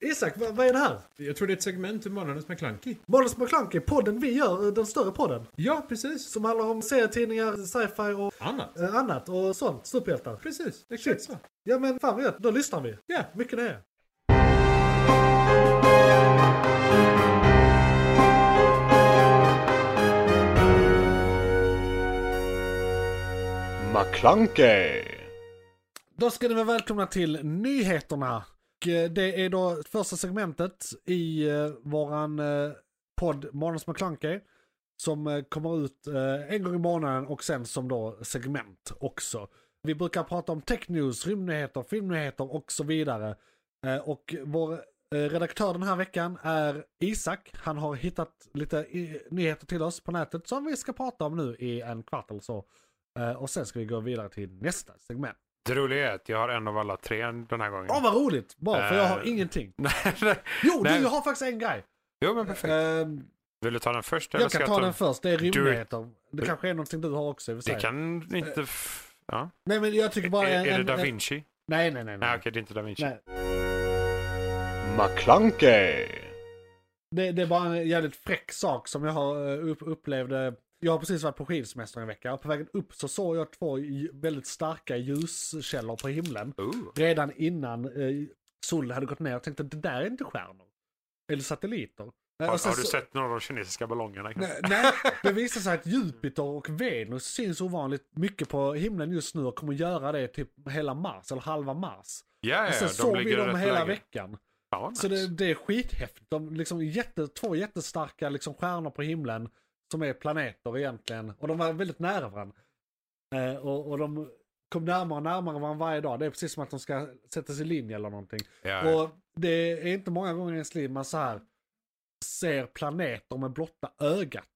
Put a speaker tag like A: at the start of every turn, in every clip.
A: Isak, vad, vad är det här?
B: Jag tror det är ett segment ur Månadens McKlunky.
A: Månadens McKlunky, podden vi gör, eh, den större podden.
B: Ja, precis.
A: Som handlar om serietidningar, sci-fi och
B: Annat.
A: eh, annat och sånt. Superhjältar.
B: Precis, exakt så.
A: Ja men fan vad gött, då lyssnar vi.
B: Ja,
A: Mycket nöje.
C: McClunkey!
A: Då ska ni vara välkomna till nyheterna. Och, eh, Det är då första segmentet i eh, våran eh, podd Månads McKlunky. Som eh, kommer ut eh, en gång i månaden och sen som då segment också. Vi brukar prata om tech news, rymdnyheter, filmnyheter och så vidare. Eh, Och vår eh, redaktör den här veckan är Isak. Han har hittat lite i- nyheter till oss på nätet som vi ska prata om nu i en kvart eller så. Eh, Och sen ska vi gå vidare till nästa segment.
C: Det roliga är att jag har en av alla tre den här gången.
A: Åh vad roligt! Bra, för jag har
C: Eh.
A: ingenting.
C: Nej, nej.
A: Jo,
C: Nej.
A: du, jag har faktiskt en grej.
C: jo men perfekt.
A: Ehm,
C: Vill du ta den först? eller
A: jag
C: ska
A: kan ta den först, det är
C: Du-
A: rymdnyheter. Det kanske är någonting du har också i och för sig.
C: Det kan inte... F... Ja.
A: Nej men jag tycker bara
C: Är,
A: en...
C: är det
A: en,
C: Da
A: en-
C: Vinci?
A: Nej, nej, nej.
C: Nej,
A: nej.
C: okej, det är inte Da Vinci.
A: nej.
C: McClunkey!
A: Det, det är bara en jävligt fräck sak som jag har eh, upp, upplevde. Jag har precis varit på skidsemester en vecka och på vägen upp så såg jag två lj- väldigt starka ljuskällor på himlen.
C: Ooh.
A: Redan innan eh, solen hade gått ner och tänkte det där är inte stjärnor. Eller satelliter. Eh,
C: Har,
A: och sen
C: har du
A: så-
C: sett någon av de kinesiska ballongerna?
A: Nej, nej, det visar sig att Jupiter och Venus syns ovanligt mycket på himlen just nu och kommer göra det typ hela mars, eller halva mars.
C: Ja, ja,
A: Och sen
C: de
A: såg vi
C: ligger
A: dem
C: rätt
A: hela
C: läge.
A: veckan.
C: Ja, nice.
A: Så det, det är skithäftigt. De liksom jätte, två jättestarka liksom stjärnor på himlen som är planeter egentligen. Och de var väldigt nära varandra. Eh, och, och de kom närmare och närmare varandra varje dag. Det är precis som att de ska sätta sig i linje eller någonting.
C: ja, ja.
A: Och det är inte många gånger i ens liv man så här ser planeter med blotta ögat.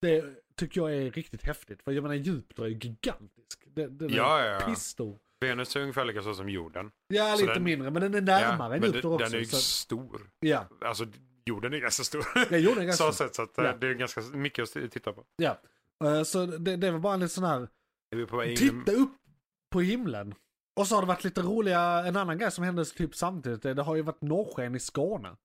A: Det tycker jag är riktigt häftigt. För jag menar Jupiter är ju gigantisk. Den, den
C: Ja,
A: är
C: ja, ja.
A: pissstor.
C: Venus är ungefär lika så som jorden.
A: Ja,
C: Så
A: lite
C: den-
A: mindre. Men den är
C: Ja,
A: närmare än
C: men
A: Jupiter
C: den
A: också.
C: den är ju
A: så, att-
C: stor.
A: ja,
C: Alltså, jorden är ganska stor.
A: jag gjorde det
C: så
A: ganska
C: sett, så att, eh,
A: Ja.
C: det är ganska mycket att titta på.
A: Ja. Eh, Så det, det var bara en liten sån här,
C: Är vi på väg in i-
A: titta upp på himlen. Och så har det varit lite roliga, en annan grej som hände typ samtidigt, det det har ju varit norrsken i Skåne.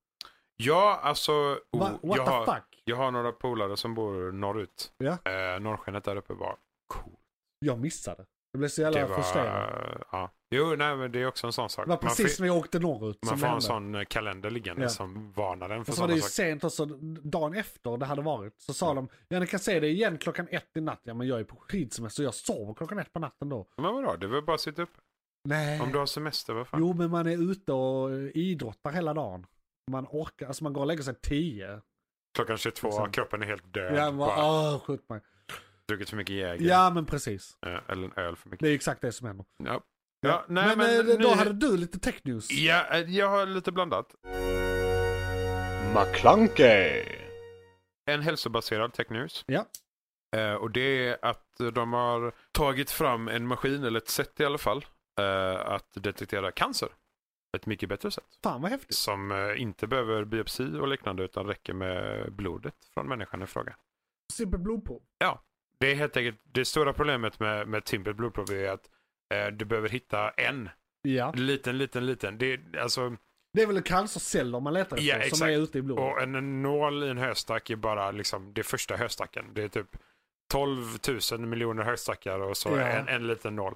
C: Ja, alltså. Oh,
A: Va, what
C: jag,
A: the
C: har,
A: fuck?
C: jag har några polare som bor norrut.
A: Ja.
C: Eh, norrskenet där uppe var coolt.
A: Jag missade. Jag blev så jävla
C: Det var...
A: frustrerad.
C: ja. Jo, nej, men det är också en sån sak.
A: Det var
C: man
A: precis
C: fi-
A: när jag åkte norrut
C: man
A: som
C: får
A: det
C: ha en
A: hände.
C: sån eh, kalender liggande
A: Ja.
C: som varnar en för
A: Och så var det
C: sådana
A: ju
C: saker.
A: sent också, dagen efter det hade varit, så sa de ja ni kan se det igen klockan ett i natt. Ja men jag är på skidsemester, jag sover klockan ett på natten då.
C: Men vadå, det är väl bara att sitta upp.
A: Nej.
C: Om du har semester, vad fan.
A: Eh, Jo men man är ute och idrottar hela dagen. Man orkar, alltså man går och lägger sig tio.
C: Klockan 22,
A: Liksom.
C: kroppen är helt död.
A: Ja, man
C: bara
A: bara, åh, skjut mig.
C: druckit för mycket jäger.
A: Ja men precis.
C: eh, Eller en öl för mycket.
A: Det är ju exakt det som händer.
C: Ja. Ja, nej, men,
A: eh, då
C: nu-
A: hade du lite tech news.
C: Ja, eh, jag har lite blandat.
D: McClunkey!
C: En hälsobaserad tech news.
A: Ja.
C: Eh, och det är att de har tagit fram en maskin, eller ett sätt i alla fall, eh, att detektera cancer. Ett mycket bättre sätt.
A: Fan vad häftigt.
C: Som eh, inte behöver biopsi och liknande utan räcker med blodet från människan i fråga.
A: Simpel blodprov.
C: Det är helt enkelt, det stora problemet med, med simpelt blodprov är att eh, du behöver hitta en
A: Ja.
C: liten, liten, liten. Det är, alltså,
A: Det är väl cancerceller man letar efter
C: Ja,
A: som
C: exakt.
A: är ute i blodet.
C: och en nål i en höstack är bara liksom det första höstacken. Det är typ 12 000 miljoner höstackar och så
A: Ja.
C: en, en liten nål.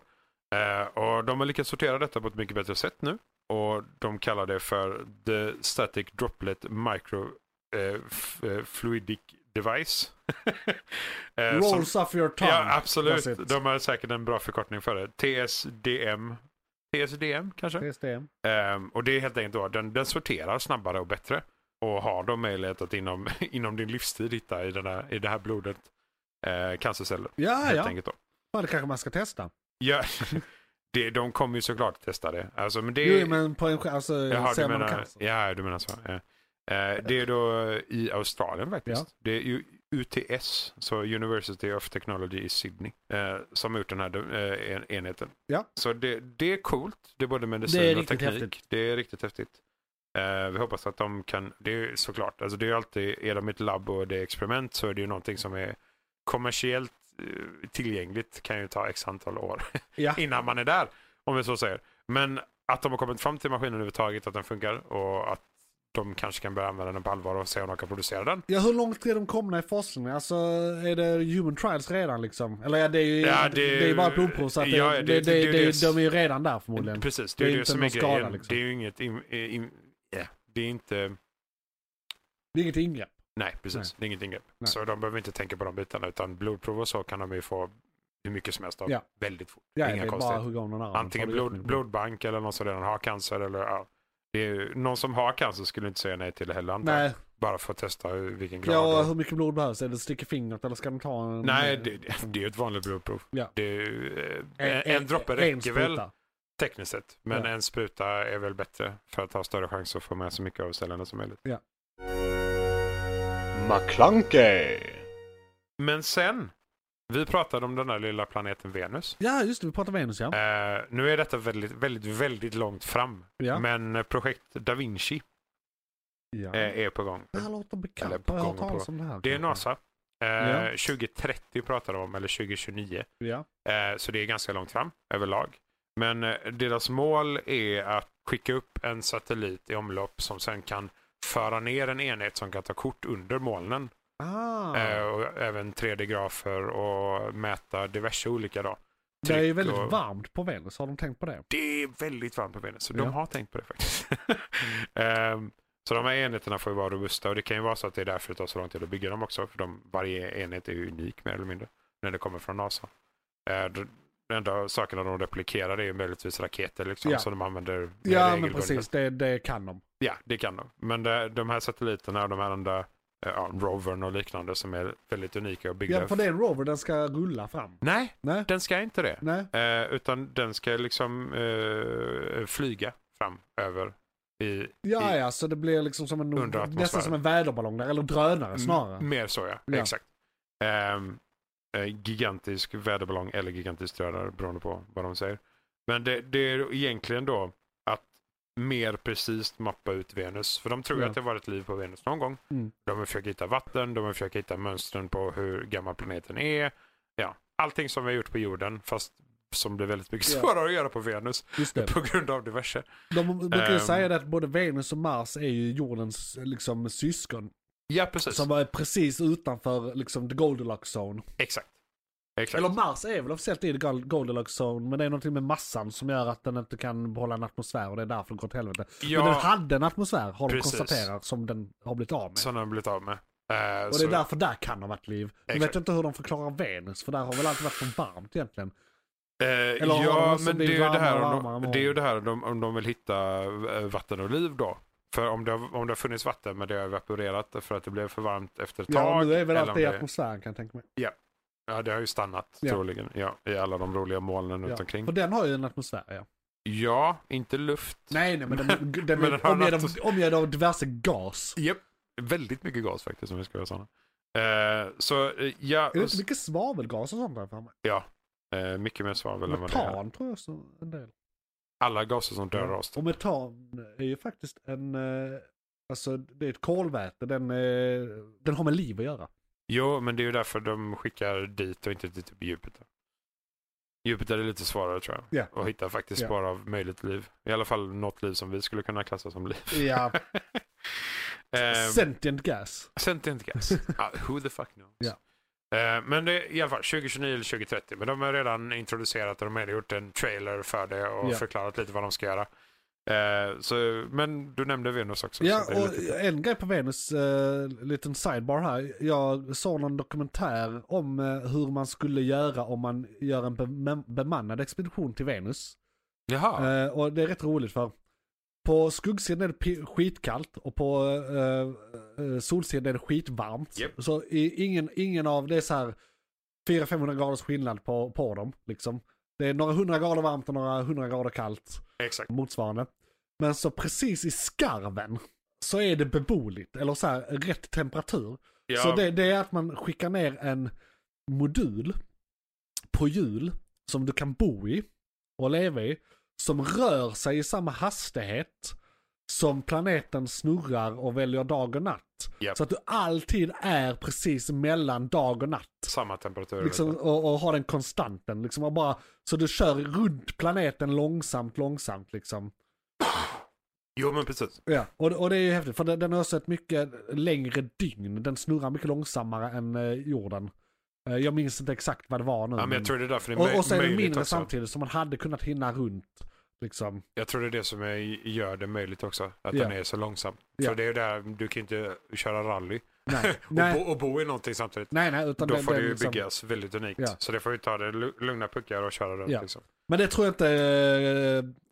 C: Eh, och de har lyckats sortera detta på ett mycket bättre sätt nu. Och de kallar det för The Static Droplet Micro eh, f- eh, Fluidic Device. Eh, som-
A: Rolls off your tongue.
C: ja, absolut.
A: That's
C: De har säkert en bra förkortning för det. TSDM. TSDM kanske?
A: it. TSDM.
C: Ehm, och det är helt enkelt då, den, den sorterar snabbare och bättre. Och har då möjlighet att inom, inom din livstid hitta i, den här, i det här blodet eh, cancerceller.
A: Ah, Ja,
C: helt
A: ja.
C: enkelt då.
A: ja. Det kanske man ska testa.
C: Ja, det, de kommer ju såklart testa det. Alltså, men det
A: Jo, men på en sk- alltså,
C: Jaha,
A: ser
C: du
A: man
C: menar,
A: cancer.
C: ja, du menar så. Ja. Eh, det är då i Australien faktiskt.
A: Ja.
C: Det är ju UTS, så University of Technology i Sydney, eh, som har gjort den här eh, en- enheten.
A: Ja.
C: Så det, det är coolt. Det är både medicin
A: Det är
C: och
A: riktigt
C: teknik.
A: häftigt.
C: Det är riktigt häftigt. Eh, vi hoppas att de kan, det är såklart, alltså det är ju alltid, är de ett labb och det är experiment så är det ju någonting som är kommersiellt eh, tillgängligt kan ju ta x antal år
A: Ja.
C: innan man är där, om vi så säger. Men att de har kommit fram till maskinen överhuvudtaget, att den funkar och att de kanske kan börja använda den på allvar och se om de kan producera den.
A: Ja, hur långt är de komna i forskningen? Alltså, är det human trials redan liksom? Eller ja, det är ju
C: Ja,
A: det,
C: det-
A: är ju bara provprov så att
C: ja,
A: det,
C: det-
A: det, det,
C: det- det-
A: det-
C: det-
A: de är ju redan där förmodligen.
C: Precis, det är
A: Det är
C: ju det
A: inte
C: som är
A: någon skada,
C: grejen.
A: liksom.
C: Det är ju inget... im- eh, im- eh, det är inte...
A: Det är inget ingrepp.
C: Nej, precis. Det är inget ingrepp.
A: Nej.
C: Så de behöver inte tänka på de bitarna utan blodprov och så kan de ju få hur mycket som helst av
A: Ja.
C: väldigt fort.
A: Ja,
C: Inga
A: det är bara
C: konstigheter.
A: att hugga om någon arm.
C: Antingen
A: Har du gjort
C: blod,
A: något?
C: blodbank eller någon som redan har cancer. Eller, ja. det är, ju- någon som har cancer skulle inte säga nej till det heller. antar jag.
A: Nej,
C: Bara för att testa hur, vilken grad.
A: ja,
C: Ja,
A: hur mycket blod behövs? Är det stick i fingret eller ska de ta en...
C: nej, det, det- det är ju ett vanligt blodprov.
A: Ja.
C: Det är, ju, eh, en, en droppe räcker väl
A: spruta.
C: tekniskt sett. Men
A: Ja.
C: en spruta är väl bättre för att ha större chans att få med så mycket av cellerna som möjligt.
D: McClunkey.
C: Men sen, vi pratade om den där lilla planeten Venus.
A: Ja, just det. Vi pratar Venus ja.
C: Eh, nu är detta väldigt, väldigt, väldigt långt fram.
A: Ja.
C: Men eh, projekt Da Vinci
A: ja.
C: eh, är på gång.
A: det här låter
C: eller
A: bekant.
C: på
A: Har jag hört
C: gång och
A: talas om det här?
C: Det är
A: kanske?
C: NASA. Eh,
A: Ja.
C: 2030 pratar de om, eller 2029.
A: Ja.
C: Eh, så det är ganska långt fram överlag. Men eh, deras mål är att skicka upp en satellit i omlopp som sen kan föra ner en enhet som kan ta kort under molnen.
A: Ah,
C: Eh, och även 3D-grafer och mäta diverse olika. Då.
A: det är ju
C: tryck
A: väldigt
C: och-
A: varmt på Venus. Har de tänkt på det?
C: Det är väldigt varmt på Venus, så
A: Ja.
C: de har tänkt på det faktiskt. Ehm, så de här enheterna får ju vara robusta och det kan ju vara så att det är därför det tar så lång tid att bygga dem också. För de, varje enhet är ju unik mer eller mindre när det kommer från NASA. Eh, de- de enda sakerna de replikerar är ju möjligtvis raketer liksom,
A: Ja.
C: som de använder mer
A: Ja, men
C: regelbundet.
A: precis. Det, det kan de.
C: Ja, det kan de. Men det, de här satelliterna och de här andra eh, ja, rovern och liknande som är väldigt unika och byggda.
A: Ja, för det är en rover. Den ska rulla fram.
C: Nej,
A: Nej.
C: den ska inte det.
A: Nej.
C: Eh, utan den ska liksom eh, flyga fram över i,
A: Ja,
C: i
A: ja, så det blir liksom som en,
C: Under
A: nästan
C: atmosfären.
A: som en väderballong där, eller drönare
C: m-
A: snarare.
C: mer så ja,
A: Ja.
C: exakt. Ehm, Eh, gigantisk väderballong eller gigantisk drönare beroende på vad de säger. Men det, det är egentligen då att mer precis mappa ut Venus. För de tror ju
A: Ja.
C: att det har varit liv på Venus någon gång.
A: Mm.
C: De har försökt hitta vatten, de har försökt hitta mönstren på hur gammal planeten är. Ja, allting som vi har gjort på jorden fast som blir väldigt mycket
A: Ja.
C: svårare att göra på Venus
A: Just det.
C: på grund av diverse.
A: De brukar ju
C: Ehm.
A: säga det att både Venus och Mars är ju jordens liksom, syskon.
C: Ja, precis.
A: Som är precis utanför liksom, the Goldilocks zone.
C: Exakt. Exakt.
A: Eller Mars är väl officiellt i the Gold- Goldilocks zone, men det är någonting med massan som gör att den inte kan behålla en atmosfär och det är därför det går till helvete.
C: ja,
A: Men den hade en atmosfär, har de
C: Precis.
A: konstaterat, som den har blivit av med.
C: som de har blivit av med. Eh,
A: Och det är därför där kan ha varit liv. Jag vet
C: Exakt.
A: inte hur de förklarar Venus, för där har väl alltid varit för varmt egentligen.
C: eh,
A: eller har de
C: ja,
A: också
C: men det är ju
A: blivit
C: det här,
A: varmare och
C: om
A: varmare
C: de,
A: och
C: det är ju det här om de, om de vill hitta eh, vatten och liv då. För om det, har, om det har funnits vatten men det har evaporerat för att det blev för varmt efter ett tag.
A: Ja, nu är väl
C: eller
A: allt
C: om
A: i
C: det-
A: atmosfären kan jag tänka mig.
C: Ja, det har ju stannat
A: Ja.
C: troligen ja, i alla de roliga molnen runt
A: Ja.
C: omkring.
A: För den har ju en atmosfär ja.
C: Ja, inte luft.
A: Nej, nej men den, den, den,
C: Men den har en
A: omger av-
C: atmos-
A: omger av diverse gas.
C: Japp. Väldigt mycket gas faktiskt om vi ska vara sådana. Eh, så eh, ja,
A: Är det
C: och s-
A: inte mycket svavelgas och sånt där framme?
C: eh, mycket mer svavel än vad det är.
A: Metan tror jag också en del.
C: Alla gaser som dödar oss.
A: Och metan är ju faktiskt en, eh, alltså det är ett kolväte, den, eh, den har med liv att göra.
C: Jo, men det är ju därför de skickar dit och inte till typ Jupiter. Jupiter är lite svårare tror jag.
A: Ja.
C: Och hitta faktiskt
A: Ja.
C: bara möjligt liv. I alla fall något liv som vi skulle kunna klassa som liv.
A: Ja,
C: Ehm,
A: sentient gas.
C: Sentient gas. Ja, who the fuck knows.
A: Ja.
C: Eh, men det, är i alla fall 2029 eller 2030. Men de har redan introducerat och de har redan gjort en trailer för det och
A: Ja.
C: förklarat lite vad de ska göra. Eh, så, men du nämnde Venus också.
A: Ja,
C: så det är
A: och
C: lite-
A: en grej på Venus, eh, liten sidebar här. Jag såg någon dokumentär om eh, hur man skulle göra om man gör en bem- bemannad expedition till Venus.
C: Jaha,
A: Eh, och det är rätt roligt för på skuggsidan är det pi- skitkallt och på eh, eh, solsidan är det skitvarmt.
C: Japp.
A: Så i, ingen, ingen av, det är så här 400-500 graders skillnad på, på dem. Liksom. Det är några hundra grader varmt och några hundra grader kallt
C: exakt.
A: motsvarande. Men så precis i skarven så är det beboeligt, eller så här rätt temperatur.
C: Ja,
A: Så det, det är att man skickar ner en modul på hjul som du kan bo i och leva i. Som rör sig i samma hastighet som planeten snurrar och väljer dag och natt.
C: Japp.
A: Så att du alltid är precis mellan dag och natt.
C: Samma temperatur.
A: Liksom, och, och har den konstanten. Liksom, och bara, så du kör runt planeten långsamt, långsamt. Liksom.
C: Jo, men precis.
A: Ja, och, och det är ju häftigt för den, den har också ett mycket längre dygn. Den snurrar mycket långsammare än eh, jorden. Eh, jag minns inte exakt vad det var nu.
C: Ja, men
A: men-
C: jag tror det är därför det är
A: Mm. och, och så är
C: möj-
A: den
C: möjligt
A: mindre
C: också.
A: samtidigt som man hade kunnat hinna runt. Liksom.
C: Jag tror det är det som är, gör det möjligt också. Att
A: Ja.
C: den är så långsam.
A: Ja.
C: För det är ju där, du kan ju inte köra rally
A: Nej,
C: och
A: nej,
C: bo, och bo i någonting samtidigt.
A: nej, nej utan
C: Då
A: den,
C: får det
A: den
C: ju
A: liksom-
C: byggas väldigt unikt.
A: Ja.
C: Så det får ju ta det lu- lugna puckar och köra runt.
A: Ja.
C: Liksom.
A: Men det tror jag inte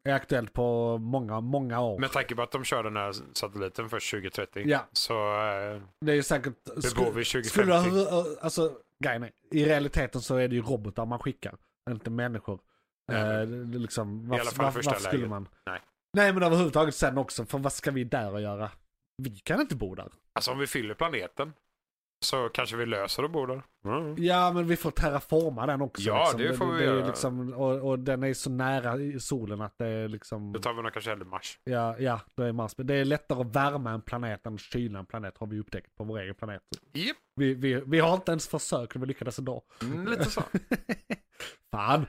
A: eh, är aktuellt på många, många år.
C: Med tanke på att de kör den här satelliten först 2030
A: Ja.
C: så eh,
A: det är ju säkert...
C: bebor vi 2050.
A: skulle du, ha- alltså, grejen är, i realiteten så är det ju robotar man skickar, inte människor.
C: Nej,
A: Eh,
C: men-
A: det- liksom,
C: alla
A: varför,
C: fall
A: varför,
C: första
A: varför skulle
C: läget.
A: man?
C: Nej.
A: Nej men överhuvudtaget sen också, för vad ska vi där och göra? Vi kan inte bo där.
C: alltså om vi fyller planeten så kanske vi löser och bor där. Mm.
A: Ja men vi får terraforma den också.
C: Ja,
A: liksom.
C: det får vi
A: det, är ju
C: göra.
A: liksom, och, och den är så nära i solen att det är liksom...
C: Då tar vi nog kanske hellre Mars.
A: Ja, ja, det är Mars. Men det är lättare att värma en planet än att kyla en planet har vi upptäckt på vår egen planet.
C: Japp,
A: Vi, vi, vi har inte ens försökt, vi lyckades ändå.
C: mm, lite så.
A: Fan,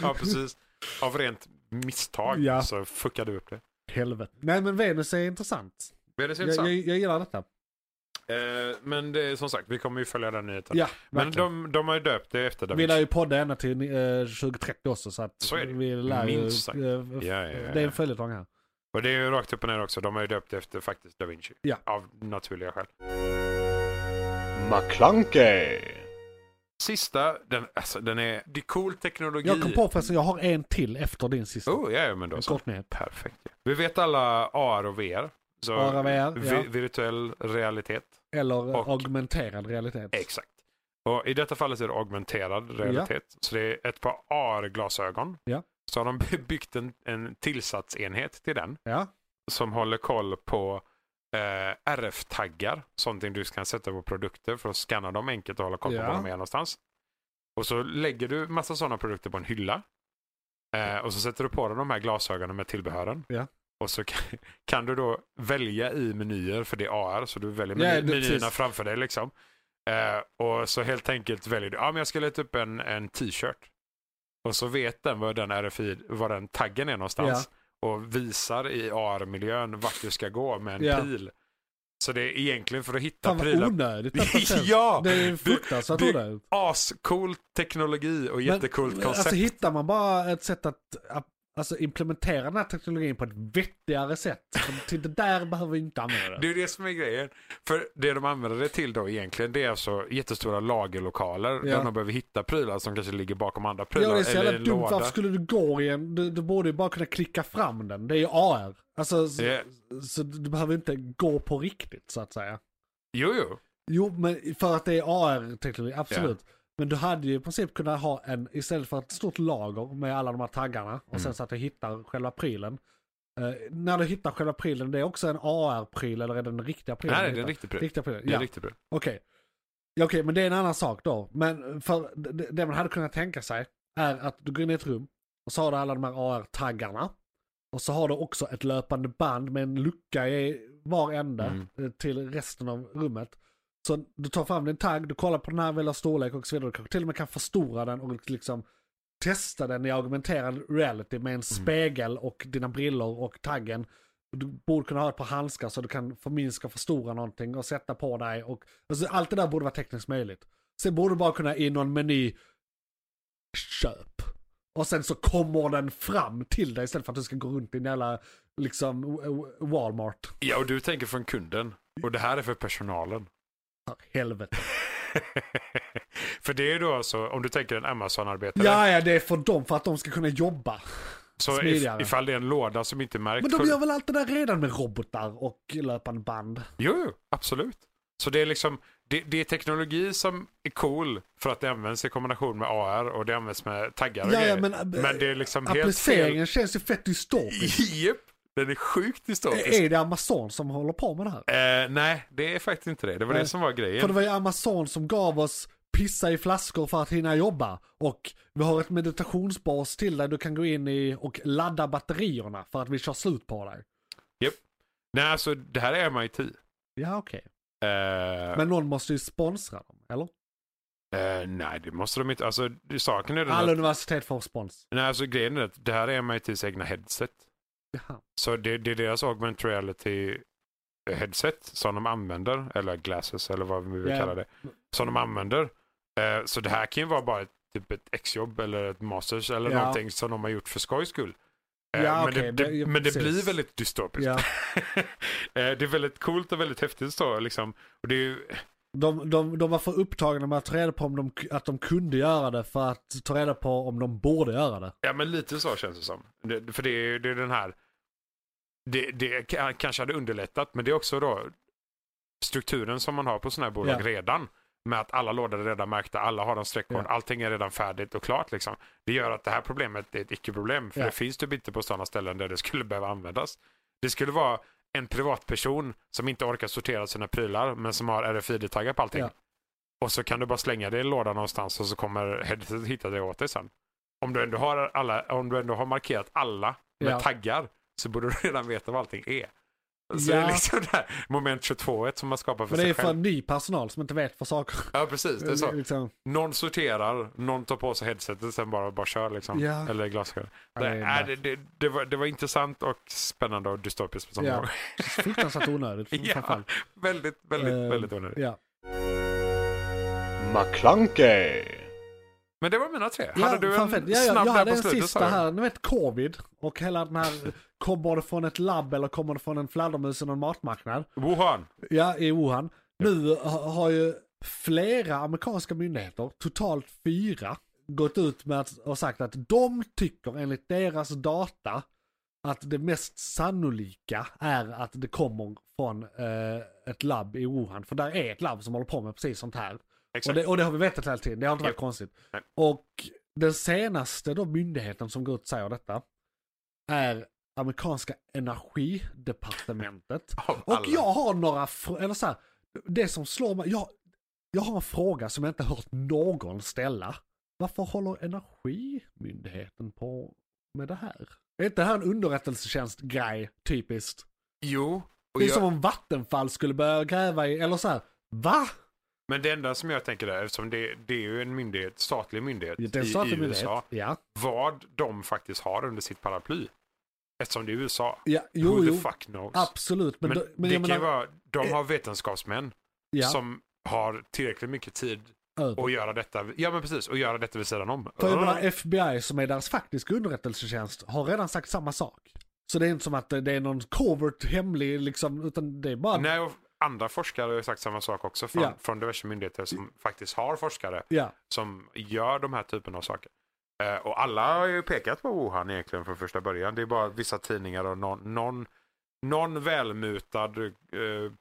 C: ja, precis. Av rent misstag
A: Ja.
C: så fuckade vi upp det.
A: helvete. Nej men Venus är intressant.
C: Men det ser
A: Jag,
C: intressant.
A: jag, jag gillar detta.
C: Eh, men det är som sagt, vi kommer ju följa den nyheten.
A: Ja,
C: men
A: verkligen.
C: de, de har ju döpt det efter Da
A: Vi lär
C: Vinci.
A: ju podda ända till eh, 2030 också så att
C: Så är det.
A: vi lär ju...
C: Minst sagt.
A: eh,
C: Ja, ja, ja.
A: Det är en följetong här.
C: Och det är ju rakt upp och ner också. De har ju döpt det efter faktiskt Da Vinci.
A: Ja.
C: Av naturliga skäl.
D: McClunkey.
C: Sista, den, alltså, den är... Det är cool teknologi.
A: Jag kom på förresten, jag har en till efter din sista.
C: Oh, ja, ja, men då
A: en
C: så.
A: kort nyhet.
C: Perfekt. ja. Vi vet alla AR och VR. Så
A: AR och VR,
C: vi-
A: ja.
C: Virtuell realitet.
A: Eller eh,
C: Och-
A: augmenterad realitet.
C: Exakt. Och I detta fallet är det augmenterad realitet. Så det är ett par AR-glasögon.
A: Ja.
C: Så har de byggt en, en tillsatsenhet till den
A: Ja,
C: som håller koll på eh, RF-taggar. Sånt du kan sätta på produkter för att scanna dem enkelt och hålla koll på
A: Ja.
C: var de är någonstans. Och så lägger du massa sådana produkter på en hylla. Eh, och så sätter du på dig de här glasögonen med tillbehören.
A: Ja.
C: Och så kan, kan du då välja i menyer, för det är AR, så du väljer
A: Ja,
C: meny,
A: det-
C: menyerna
A: precis.
C: framför dig. liksom. Eh, och så helt enkelt väljer du, ja men jag ska leta upp en, en t-shirt. Och så vet den var den RFI, var den taggen är någonstans. Och visar i AR-miljön vart du ska gå med en
A: Ja.
C: pil. Så det är egentligen för att hitta
A: fan vad
C: prylar.
A: onödigt detta känns.
C: ja!
A: Det är
C: Du-
A: fruktansvärt
C: du-
A: onödigt.
C: Ascool teknologi och jättecoolt
A: Men,
C: koncept.
A: Alltså hittar man bara ett sätt att att, alltså, implementera den här teknologin på ett vettigare sätt. För Till det där behöver vi inte använda det.
C: Det är det som är grejen. För det de använder det till då egentligen, det är alltså jättestora lagerlokaler
A: Ja.
C: där de behöver hitta prylar som kanske ligger bakom andra
A: Ja,
C: prylar
A: det är så
C: eller
A: jävla
C: i en
A: dumt.
C: låda.
A: Varför skulle du gå i en... Du, du borde ju bara kunna klicka fram den. Det är ju AR. Alltså, så,
C: Ja.
A: så du behöver inte gå på riktigt, så att säga.
C: Jo, jo.
A: Jo, men för att det är AR-teknologi, absolut. Men du hade ju i princip kunnat ha en, istället för ett stort lager med alla de här taggarna och
C: Mm.
A: sen så att du hittar själva prylen. Eh, när du hittar själva prylen, det är också en AR-pryl eller är det den riktiga prylen?
C: Nej,
A: du
C: det är en
A: hittar?
C: riktig pryl.
A: Riktiga prylen,
C: Det är
A: ja.
C: en riktig pryl.
A: Okej. Ja, Okej, men det är en annan sak då. Men för det, det man hade kunnat tänka sig är att du går in i ett rum och så har du alla de här AR-taggarna. Och så har du också ett löpande band med en lucka i var ände
C: Mm.
A: eh, till resten av rummet. Så du tar fram din tagg, du kollar på den här, väljer storlek och så vidare. Du kanske till och med kan förstora den och liksom testa den i augmenterad reality med en spegel och dina brillor och taggen. Du borde kunna ha ett par handskar så du kan förminska och förstora någonting och sätta på dig. Och, alltså, allt det där borde vara tekniskt möjligt. Sen borde du bara kunna i någon meny köp. Och sen så kommer den fram till dig istället för att du ska gå runt i en jävla liksom w- w- Walmart.
C: Ja, och du tänker från kunden. Och det här är för personalen.
A: För helvete.
C: för det är då alltså, om du tänker en Amazon-arbetare.
A: Ja, ja, det är för dem för att de ska kunna jobba.
C: så if,
A: smidigare.
C: ifall det är en låda som inte märks.
A: Men de gör väl allt det där redan med robotar och löpande band.
C: Jo, jo, absolut. Så det är liksom, det, det är teknologi som är cool för att det används i kombination med AR och det används med taggar och
A: Ja, ja,
C: grejer.
A: men, äh,
C: det är liksom helt fel.
A: Appliceringen känns ju fett dystopisk.
C: Japp, den är sjukt dystopisk.
A: Är det Amazon som håller på med det här?
C: Eh, nej, det är faktiskt inte det. Det var
A: Nej.
C: det som var
A: För det
C: grejen.
A: var ju Amazon som gav oss pissa i flaskor för att hinna jobba. Och vi har ett meditationsbas till där du kan gå in i och ladda batterierna för att vi kör slut på dig.
C: Nej, alltså det här är MIT. Eh,
A: Ja, okej. Men någon måste ju sponsra dem, eller?
C: eh, nej, det måste de inte. Alltså, det- saken är den
A: Alla
C: att,
A: universitet får spons.
C: nej, alltså, grejen är att det här är MITs egna headset.
A: Jaha.
C: Så det, det är deras augmented reality headset som de använder, eller glasses eller vad vi vill
A: Ja.
C: kalla det, som de använder. Eh, Så det här kan ju vara bara ett, typ ett exjobb eller ett masters eller
A: Ja.
C: någonting som de har gjort för skojs skull. Eh,
A: Ja,
C: men
A: okej,
C: det,
A: det- ja,
C: det, men det
A: precis.
C: blir väldigt dystopiskt.
A: Ja.
C: Eh, det är väldigt coolt och väldigt häftigt så, liksom. Och det är ju,
A: De, de, de var för upptagna med att ta reda på om de, att de kunde göra det för att ta reda på om de borde göra det.
C: ja men lite så känns det som. Det, för det är, det är den här, det, det k- kanske hade underlättat men det är också då strukturen som man har på sådana här bolag
A: Ja.
C: redan. Med att alla lådor är redan märkta, alla har en streckkod,
A: Ja.
C: allting är redan färdigt och klart liksom. Det gör att det här problemet är ett icke-problem för
A: Ja.
C: det finns typ inte på sådana ställen där det skulle behöva användas. Det skulle vara en privatperson som inte orkar sortera sina prylar men som har RFID-taggar på allting.
A: Ja.
C: Och så kan du bara slänga det i en låda någonstans och så kommer headsetet hitta det åt dig sen. Om du ändå har, alla, om du ändå har markerat alla med
A: Ja.
C: taggar så borde du redan veta vad allting är. Så det
A: Ja.
C: är liksom det här moment 22 som man skapar för
A: Men det är
C: sig
A: för
C: själv.
A: ny personal som inte vet vad saker
C: Ja, precis. Det är så.
A: Liksom,
C: Någon sorterar, någon tar på sig headsetet och sen bara, bara kör liksom.
A: Ja.
C: Eller glasögon.
A: Ja,
C: det,
A: det är
C: är det, det, det, var, det var intressant och spännande och dystopiskt på samma
A: Ja.
C: gång.
A: fruktansvärt onödigt.
C: ja,
A: framförallt.
C: väldigt, väldigt,
A: Eh,
C: väldigt onödigt.
A: Ja.
D: McClunkey,
C: Men det var mina tre.
A: Ja,
C: hade du en
A: fan fett. ja, ja,
C: snabb
A: Jag
C: där
A: hade
C: på
A: en
C: slutet?
A: sista
C: sa du?
A: här, ni vet covid och hela den här, kommer det från ett labb eller kommer det från en fladdermus eller en matmarknad?
C: Wuhan.
A: Ja, i Wuhan. Nu ha- har ju flera amerikanska myndigheter, totalt fyra, gått ut med att, och sagt att de tycker enligt deras data att det mest sannolika är att det kommer från eh, ett labb i Wuhan. För där är ett labb som håller på med precis sånt här. Och
C: Exakt.
A: det, och det har vi vetat hela tiden, det har inte varit
C: Ja.
A: konstigt.
C: Nej.
A: Och den senaste då myndigheten som går ut och säger detta är amerikanska energidepartementet.
C: Av
A: Och
C: alla.
A: jag har några, fr- eller så här, det som slår mig, jag, jag har en fråga som jag inte hört någon ställa. Varför håller Energimyndigheten på med det här? Är inte det här en underrättelsetjänstgrej, typiskt?
C: Jo. Och
A: Det är
C: jag,
A: som om Vattenfall skulle börja gräva i, eller så här, va?
C: Men det enda som jag tänker där, eftersom det, det är ju en myndighet, statlig myndighet
A: Det är en
C: i, i
A: statlig
C: USA,
A: myndighet. Ja,
C: vad de faktiskt har under sitt paraply. Eftersom det är USA.
A: ja jo,
C: Who
A: jo,
C: the fuck knows?
A: absolut. Men,
C: Men,
A: då, men
C: det
A: jag
C: kan ju
A: menar, Eh,
C: vara, de har vetenskapsmän
A: ja,
C: som har tillräckligt mycket tid
A: över.
C: att göra detta, ja men precis, och göra detta vid sidan om.
A: För jag menar, FBI som är deras faktiska underrättelsetjänst har redan sagt samma sak. Så det är inte som att det det är någon covert hemlig liksom, utan det är bara...
C: Nej, och andra forskare har sagt samma sak också från,
A: Ja.
C: från diverse myndigheter som faktiskt har forskare
A: Ja,
C: som gör de här typen av saker. Eh, och alla har ju pekat på Wuhan egentligen från första början. Det är bara vissa tidningar och någon, någon, någon välmutad eh,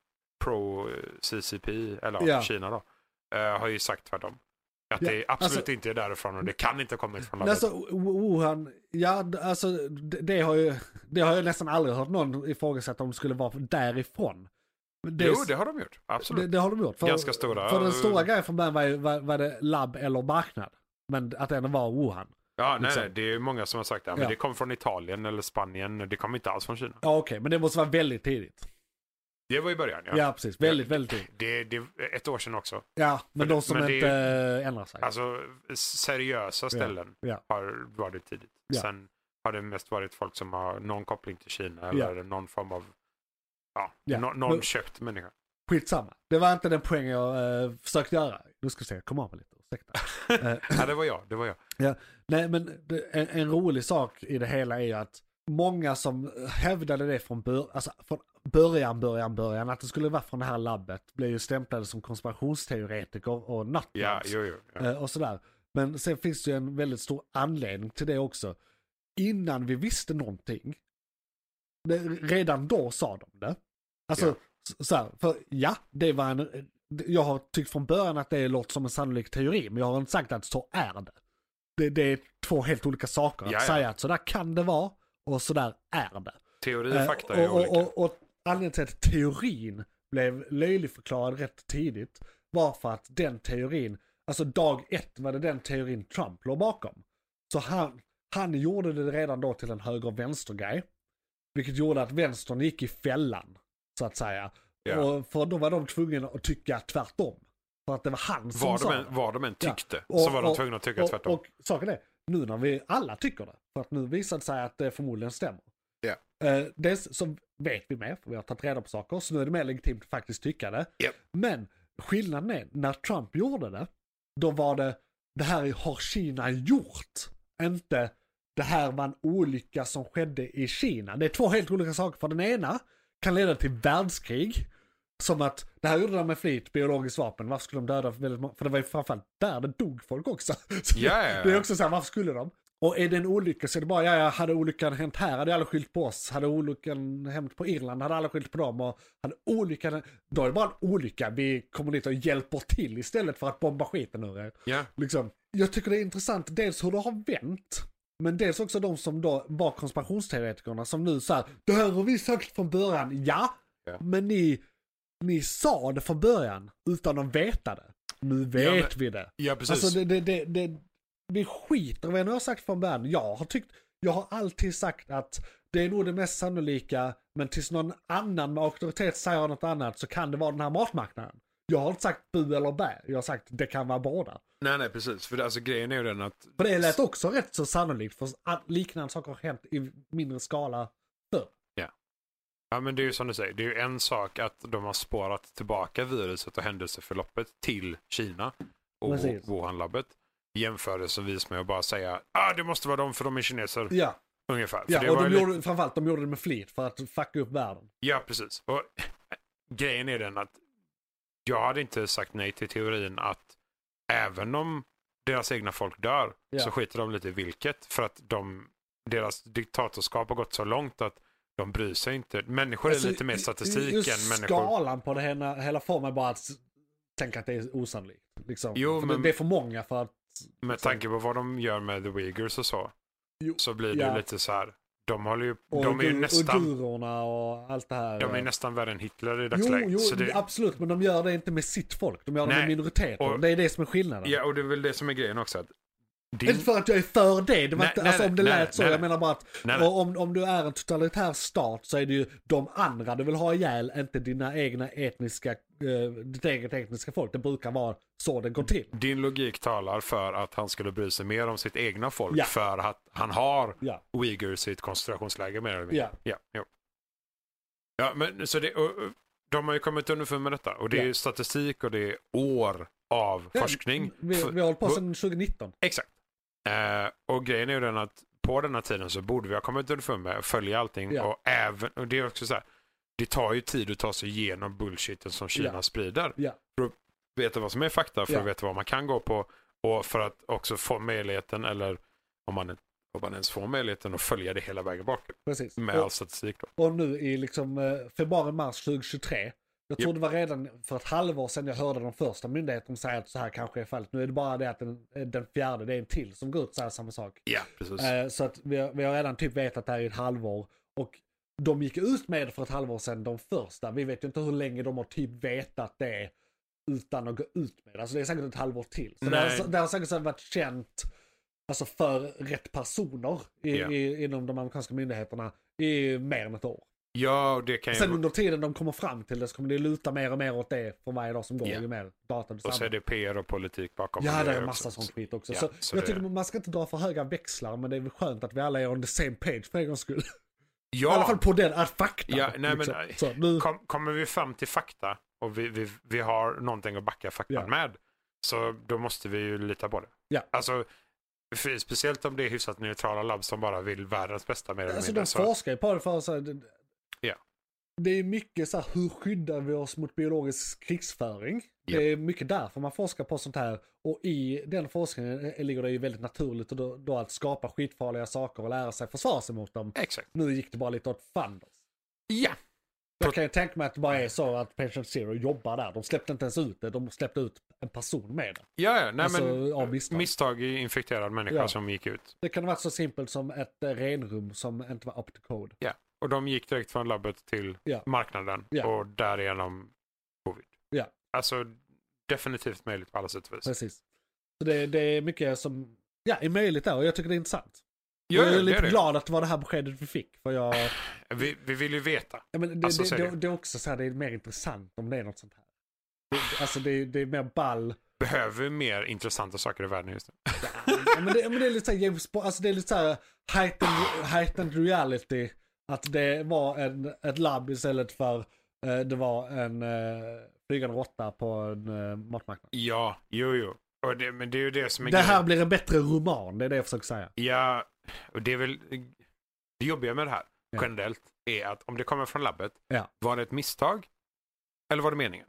C: pro-CCP, eller
A: Ja.
C: ja. Kina då, eh, har ju sagt tvärtom. Att
A: Ja,
C: det absolut
A: alltså-
C: inte är därifrån och det kan inte ha kommit från
A: men
C: landet.
A: alltså W- Wuhan, ja d- alltså det, det har ju, det har jag nästan aldrig hört någon ifrågasätta om det skulle vara därifrån. Men är-
C: jo, det har de gjort. Absolut.
A: det, det har de gjort. För,
C: Ganska stora. eh,
A: För den stora grejen från början var, ju- var, var det labb eller marknad. Men att det ändå var Wuhan.
C: ja, nej,
A: liksom.
C: nej, det är ju många som har sagt det. Men
A: Ja.
C: Det kom från Italien eller Spanien. Det kom inte alls från Kina.
A: Ja okej, men det måste vara väldigt tidigt.
C: Det var i början, ja.
A: Ja, precis, väldigt, väldigt tidigt.
C: Det, det är ett år sedan också.
A: Ja, men
C: Men-
A: de som
C: men det-
A: inte eh, ändrar sig.
C: Alltså seriösa ställen
A: ja.
C: har varit tidigt.
A: Ja.
C: Sen har det mest varit folk som har någon koppling till Kina
A: Ja.
C: eller någon form av, ja,
A: Ja.
C: nå- någon
A: Men-
C: köpt människa.
A: Skitsamma. Det var inte den poängen jag eh, försökte göra. Nu ska vi se, kom av mig lite, ursäkta. Eh,
C: ja, det var jag, det var jag.
A: Nej men det, en, en rolig sak i det hela är ju att många som hävdade det från, bör, alltså, från början, början, början, att det skulle vara från det här labbet, blev ju stämplade som konspirationsteoretiker och
C: Ja,
A: nattmans
C: jo, jo. Ja.
A: eh, och sådär. Men sen finns det ju en väldigt stor anledning till det också. Innan vi visste någonting, det, redan då sa de det. Alltså,
C: Ja.
A: s- så här, för ja, det var en, jag har tyckt från början att det låter som en sannolik teori, men jag har inte sagt att så är det. Det, det är två helt olika saker,
C: Ja,
A: att
C: ja.
A: säga att så där kan det vara och så där är det.
C: Teori
A: Eh,
C: och fakta är
A: och,
C: olika.
A: och, och, och anledningen till att teorin blev löjligförklarad rätt tidigt var för att den teorin, alltså dag ett var det den teorin Trump låg bakom. Så han, han gjorde det redan då till en höger-vänster-grej. Vilket gjorde att vänstern gick i fällan, så att säga.
C: Ja.
A: Och för då var de tvungna att tycka tvärtom. För att det var han som
C: vad,
A: sa
C: de
A: det.
C: än, vad de än
A: Ja.
C: tyckte
A: Och-
C: så var de
A: och-
C: tvungna att tycka
A: och,
C: tvärtom.
A: Och saken är, nu när vi alla tycker det, för att nu visar det sig att det förmodligen stämmer.
C: Ja.
A: Eh, dels så vet vi mer, för vi har tagit reda på saker, så nu är det mer legitimt att faktiskt tycka det.
C: Japp.
A: Men skillnaden är, när Trump gjorde det, då var det, det här har Kina gjort. Inte, det här var en olycka som skedde i Kina. Det är två helt olika saker, för den ena kan leda till världskrig. Som att, det här gjorde de med flit, biologiskt vapen, varför skulle de döda väldigt många? För det var ju framförallt där det dog folk också. Så det-
C: Ja, ja, ja.
A: Det är också så här, varför skulle de? Och är det en olycka så är det bara, ja, ja, hade olyckan hänt här hade alla skyllt på oss. Hade olyckan hänt på Irland hade alla skyllt på dem. Och hade olyckan, då är det bara en olycka. Vi kommer dit och hjälper till istället för att bomba skiten ur er.
C: Ja,
A: Liksom, jag tycker det är intressant, dels hur det har vänt. Men dels också de som då var konspirationsteoretikerna som nu säger det här har vi sagt från början. Ja,
C: Ja.
A: men ni, ni sa det från början utan att veta det. Nu vet
C: men-
A: vi det.
C: ja precis.
A: Alltså det, det, det, det, vi skiter i vad jag nu har sagt från början. Jag har, tyckt, jag har alltid sagt att det är nog det mest sannolika, men tills någon annan med auktoritet säger något annat så kan det vara den här matmarknaden. Jag har inte sagt bu eller bä, jag har sagt det kan vara båda.
C: Nej, nej, precis. För det- alltså, grejen är ju den att
A: För det lät också rätt så sannolikt, för att liknande saker har hänt i mindre skala förr.
C: Ja men det är ju som du säger, det är ju en sak att de har spårat tillbaka viruset och händelseförloppet till Kina och
A: Precis.
C: Wuhan-labbet. Jämförelsevis med att bara säga ah det måste vara dem för de är kineser,
A: Ja,
C: ungefär. För det
A: ja och
C: var
A: de
C: ju lite-
A: gjorde, framförallt de gjorde det med flit för att fucka upp världen.
C: ja precis. Och eh, grejen är den att jag hade inte sagt nej till teorin att även om deras egna folk dör
A: Ja.
C: så skiter de lite i vilket för att de, deras diktatorskap har gått så långt att de bryr sig inte. Människor
A: Alltså,
C: är lite mer statistik
A: just
C: än människor.
A: skalan på det hela, hela formen bara att s- tänka att det är osannolikt. Liksom.
C: Jo,
A: för det,
C: men-
A: det är för många för att...
C: Med
A: Sen-
C: tanke på vad de gör med the Uyghurs och så.
A: Jo,
C: så blir det
A: ja.
C: ju lite så här. De håller ju,
A: Och
C: de är ju
A: ugu-
C: nästan,
A: Uigurerna och allt det här.
C: de är nästan värre än Hitler i
A: jo,
C: dagsläget.
A: jo
C: så det,
A: absolut, men de gör det inte med sitt folk. De gör det
C: Nej,
A: med minoriteter.
C: och-
A: det är det som är skillnaden.
C: ja, och det är väl det som är grejen också. Att din,
A: Inte för att jag är för det, det var
C: Nej,
A: inte,
C: nej,
A: alltså, om det
C: nej,
A: lät så.
C: nej,
A: jag
C: nej.
A: menar bara att
C: Nej, nej.
A: och Om, om du är en totalitär stat så är det ju de andra du vill ha ihjäl, inte dina egna etniska, eh, ditt eget etniska folk. Det brukar vara så det går till.
C: din logik talar för att han skulle bry sig mer om sitt egna folk
A: Ja.
C: för att han har
A: Ja.
C: Uyghurs i ett koncentrationsläger mer eller mindre.
A: Ja.
C: Ja, jo. ja men så det, och, och, de har ju kommit underfund med detta och det är
A: Ja.
C: ju statistik och det är år av
A: Ja,
C: forskning.
A: Vi, vi
C: För-
A: har hållit på sedan 2019.
C: Exakt. Eh, och grejen är ju den att på den här tiden så borde vi ha kommit underfund med att följa allting.
A: Ja.
C: Och, även, och det är också så här, det tar ju tid att ta sig igenom bullshiten som Kina
A: Ja.
C: sprider.
A: Ja.
C: För att veta vad som är fakta, för
A: Ja.
C: att veta vad man kan gå på och för att också få möjligheten, eller om man, om man ens får möjligheten, att följa det hela vägen bak
A: Precis.
C: med all
A: Och,
C: statistik. Då.
A: och nu i liksom eh, februari, mars 2023. Jag tror det var redan för ett halvår sedan jag hörde de första myndigheterna säga att så här kanske är fallet. Nu är det bara det att den, eh, den fjärde, det är en till som går ut och säger samma sak.
C: Ja, precis.
A: Eh, så att vi, har- vi har redan typ vetat det här i ett halvår. Och de gick ut med det för ett halvår sedan, de första. Vi vet ju inte hur länge de har typ vetat det utan att gå ut med det. Alltså det är säkert ett halvår till. Så det,
C: Nej.
A: har, det har säkert så här varit känt alltså för rätt personer i,
C: Ja.
A: i, inom de amerikanska myndigheterna i mer än ett år.
C: ja, och det kan
A: Sen
C: ju...
A: under tiden de kommer fram till det så kommer det luta mer och mer åt det för varje dag som går.
C: Ja.
A: Ju mer data du
C: Och så är
A: samlar.
C: det PR och politik bakom.
A: Ja,
C: och
A: det
C: grejer
A: är en
C: också.
A: massa sånt skit också.
C: Ja,
A: så
C: så
A: jag
C: det-
A: tycker man ska inte dra för höga växlar, men det är väl skönt att vi alla är on the same page för en gångs skull. I
C: Ja.
A: alla fall på den att fakta. liksom.
C: Ja, nej, men-
A: Så, nu,
C: Kom, kommer vi fram till fakta och vi, vi, vi har någonting att backa faktan
A: Ja.
C: med, så då måste vi ju lita på det.
A: Ja.
C: Alltså, för, speciellt om det är hyfsat neutrala labb som bara vill världens bästa mer eller
A: alltså
C: mindre.
A: de
C: Så,
A: forskar ju på det för så här, det,
C: Ja.
A: det är mycket så här, hur skyddar vi oss mot biologisk krigsföring?
C: Ja.
A: Det är mycket därför man forskar på sånt här. Och i den forskningen eh, ligger det ju väldigt naturligt och då, då att skapa skitfarliga saker och lära sig försvara sig mot dem.
C: exakt.
A: Nu gick det bara lite åt fanders.
C: Ja.
A: Jag kan ju tänka mig att det bara är så att Patient Zero jobbar där. De släppte inte ens ut det, de släppte ut en person med det.
C: Ja, ja. Nej,
A: Alltså,
C: men,
A: av misstag.
C: i infekterad människa
A: Ja.
C: som gick ut.
A: Det kan ha varit så simpelt som ett eh, renrum som inte var up to code.
C: Ja. Och de gick direkt från labbet till
A: Ja.
C: marknaden
A: Ja.
C: och därigenom covid.
A: Ja.
C: Alltså, definitivt möjligt på alla sätt och vis.
A: Precis. Så det, det är mycket som ja, är möjligt där och jag tycker det är intressant.
C: Ja,
A: jag
C: ja,
A: är
C: det
A: lite
C: är det.
A: glad att det var det här beskedet vi fick. För jag,
C: Vi, vi vill ju veta.
A: ja, men det,
C: Alltså,
A: det,
C: säg
A: det,
C: det.
A: det är också så här, det är mer intressant om det är något sånt här. Det, alltså det, det är mer ball.
C: Behöver vi mer intressanta saker i världen just nu?
A: Ja, men, det, men det är lite så här James Bond, alltså det är lite så här heightened, heightened reality. Att det var en, ett labb istället för eh, det var en eh, flygande råtta på en eh, matmarknad.
C: Ja, jo, jo. Och det, men det är ju det som är
A: Det här
C: grejen.
A: blir en bättre roman, det är det jag försöker säga.
C: Ja, och det är väl det jobbiga med det här
A: Ja.
C: generellt är att om det kommer från labbet,
A: Ja.
C: var det ett misstag eller var det meningen?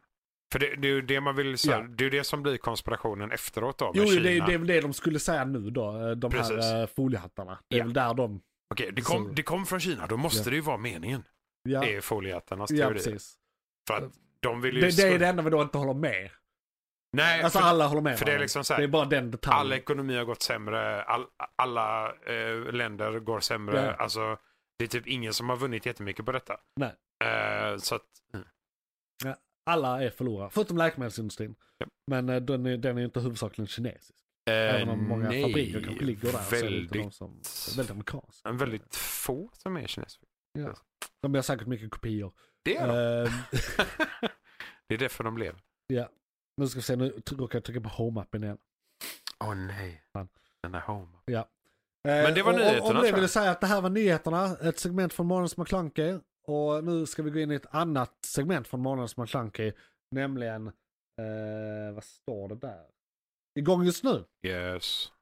C: För det, det är ju det man vill, så här,
A: Ja.
C: det är ju det som blir konspirationen efteråt då med
A: Jo,
C: Kina.
A: det är det, är väl det de skulle säga nu då, eh, de
C: Precis.
A: här eh, foliehattarna. Det är
C: Ja.
A: väl där de...
C: Okej, det kom,
A: Så-
C: det kom från Kina, då måste
A: Ja.
C: det ju vara meningen.
A: Ja,
C: Det är foliehattarnas
A: ja
C: teori.
A: precis.
C: För att de vill ju...
A: Det, det är
C: skon-
A: det enda vi då inte håller med.
C: Nej,
A: Alltså
C: för,
A: alla håller med
C: för det är
A: varandra.
C: liksom så här-
A: det är bara den detaljen.
C: all ekonomi har gått sämre, all, alla eh, länder går sämre.
A: Ja.
C: Alltså, det är typ ingen som har vunnit jättemycket på detta.
A: Nej.
C: Eh, så att, mm.
A: Alla är förlorare, förutom läkemedelsindustrin.
C: Ja.
A: Men eh, den är, den är inte huvudsakligen kinesisk. Även om många
C: eh, nej,
A: fabriker kanske ligger där. så är det inte
C: Väldigt,
A: de som, det är väldigt amerikanskt.
C: en väldigt få som är kineser.
A: De gör säkert mycket kopior.
C: Det är de.
A: Eh,
C: Det är därför de blev.
A: nu ska vi se, nu tr- råkar jag trycka på home-appen igen.
C: Åh nej.
A: Fan.
C: Den är home.
A: Eh,
C: Men det var
A: och- och-
C: nyheterna,
A: Om
C: tror
A: det
C: jag.
A: vill jag säga att det här var nyheterna, ett segment från Månadens McKlunky. Och nu ska vi gå in i ett annat segment från Månadens McKlunky. Nämligen, eh, vad står det där? Igång just nu.
C: Yes.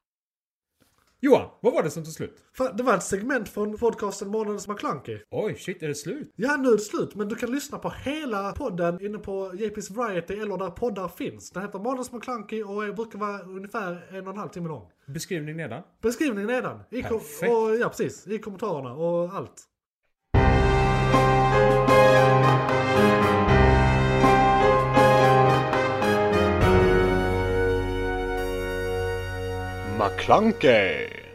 B: Johan, vad var det som tog slut?
A: Fan, Det var ett segment från podcasten Månadens McKlunky.
B: Oj, shit, är det slut?
A: Ja, nu är det slut, men du kan lyssna på hela podden inne på JP's Variety eller där poddar finns. Den heter Månadens McKlunky och är- brukar vara ungefär en och en halv timme lång.
B: Beskrivning nedan.
A: Beskrivningen nedan. I kom-
B: Perfekt.
A: och, ja, precis. I kommentarerna och allt.
D: McClunkey!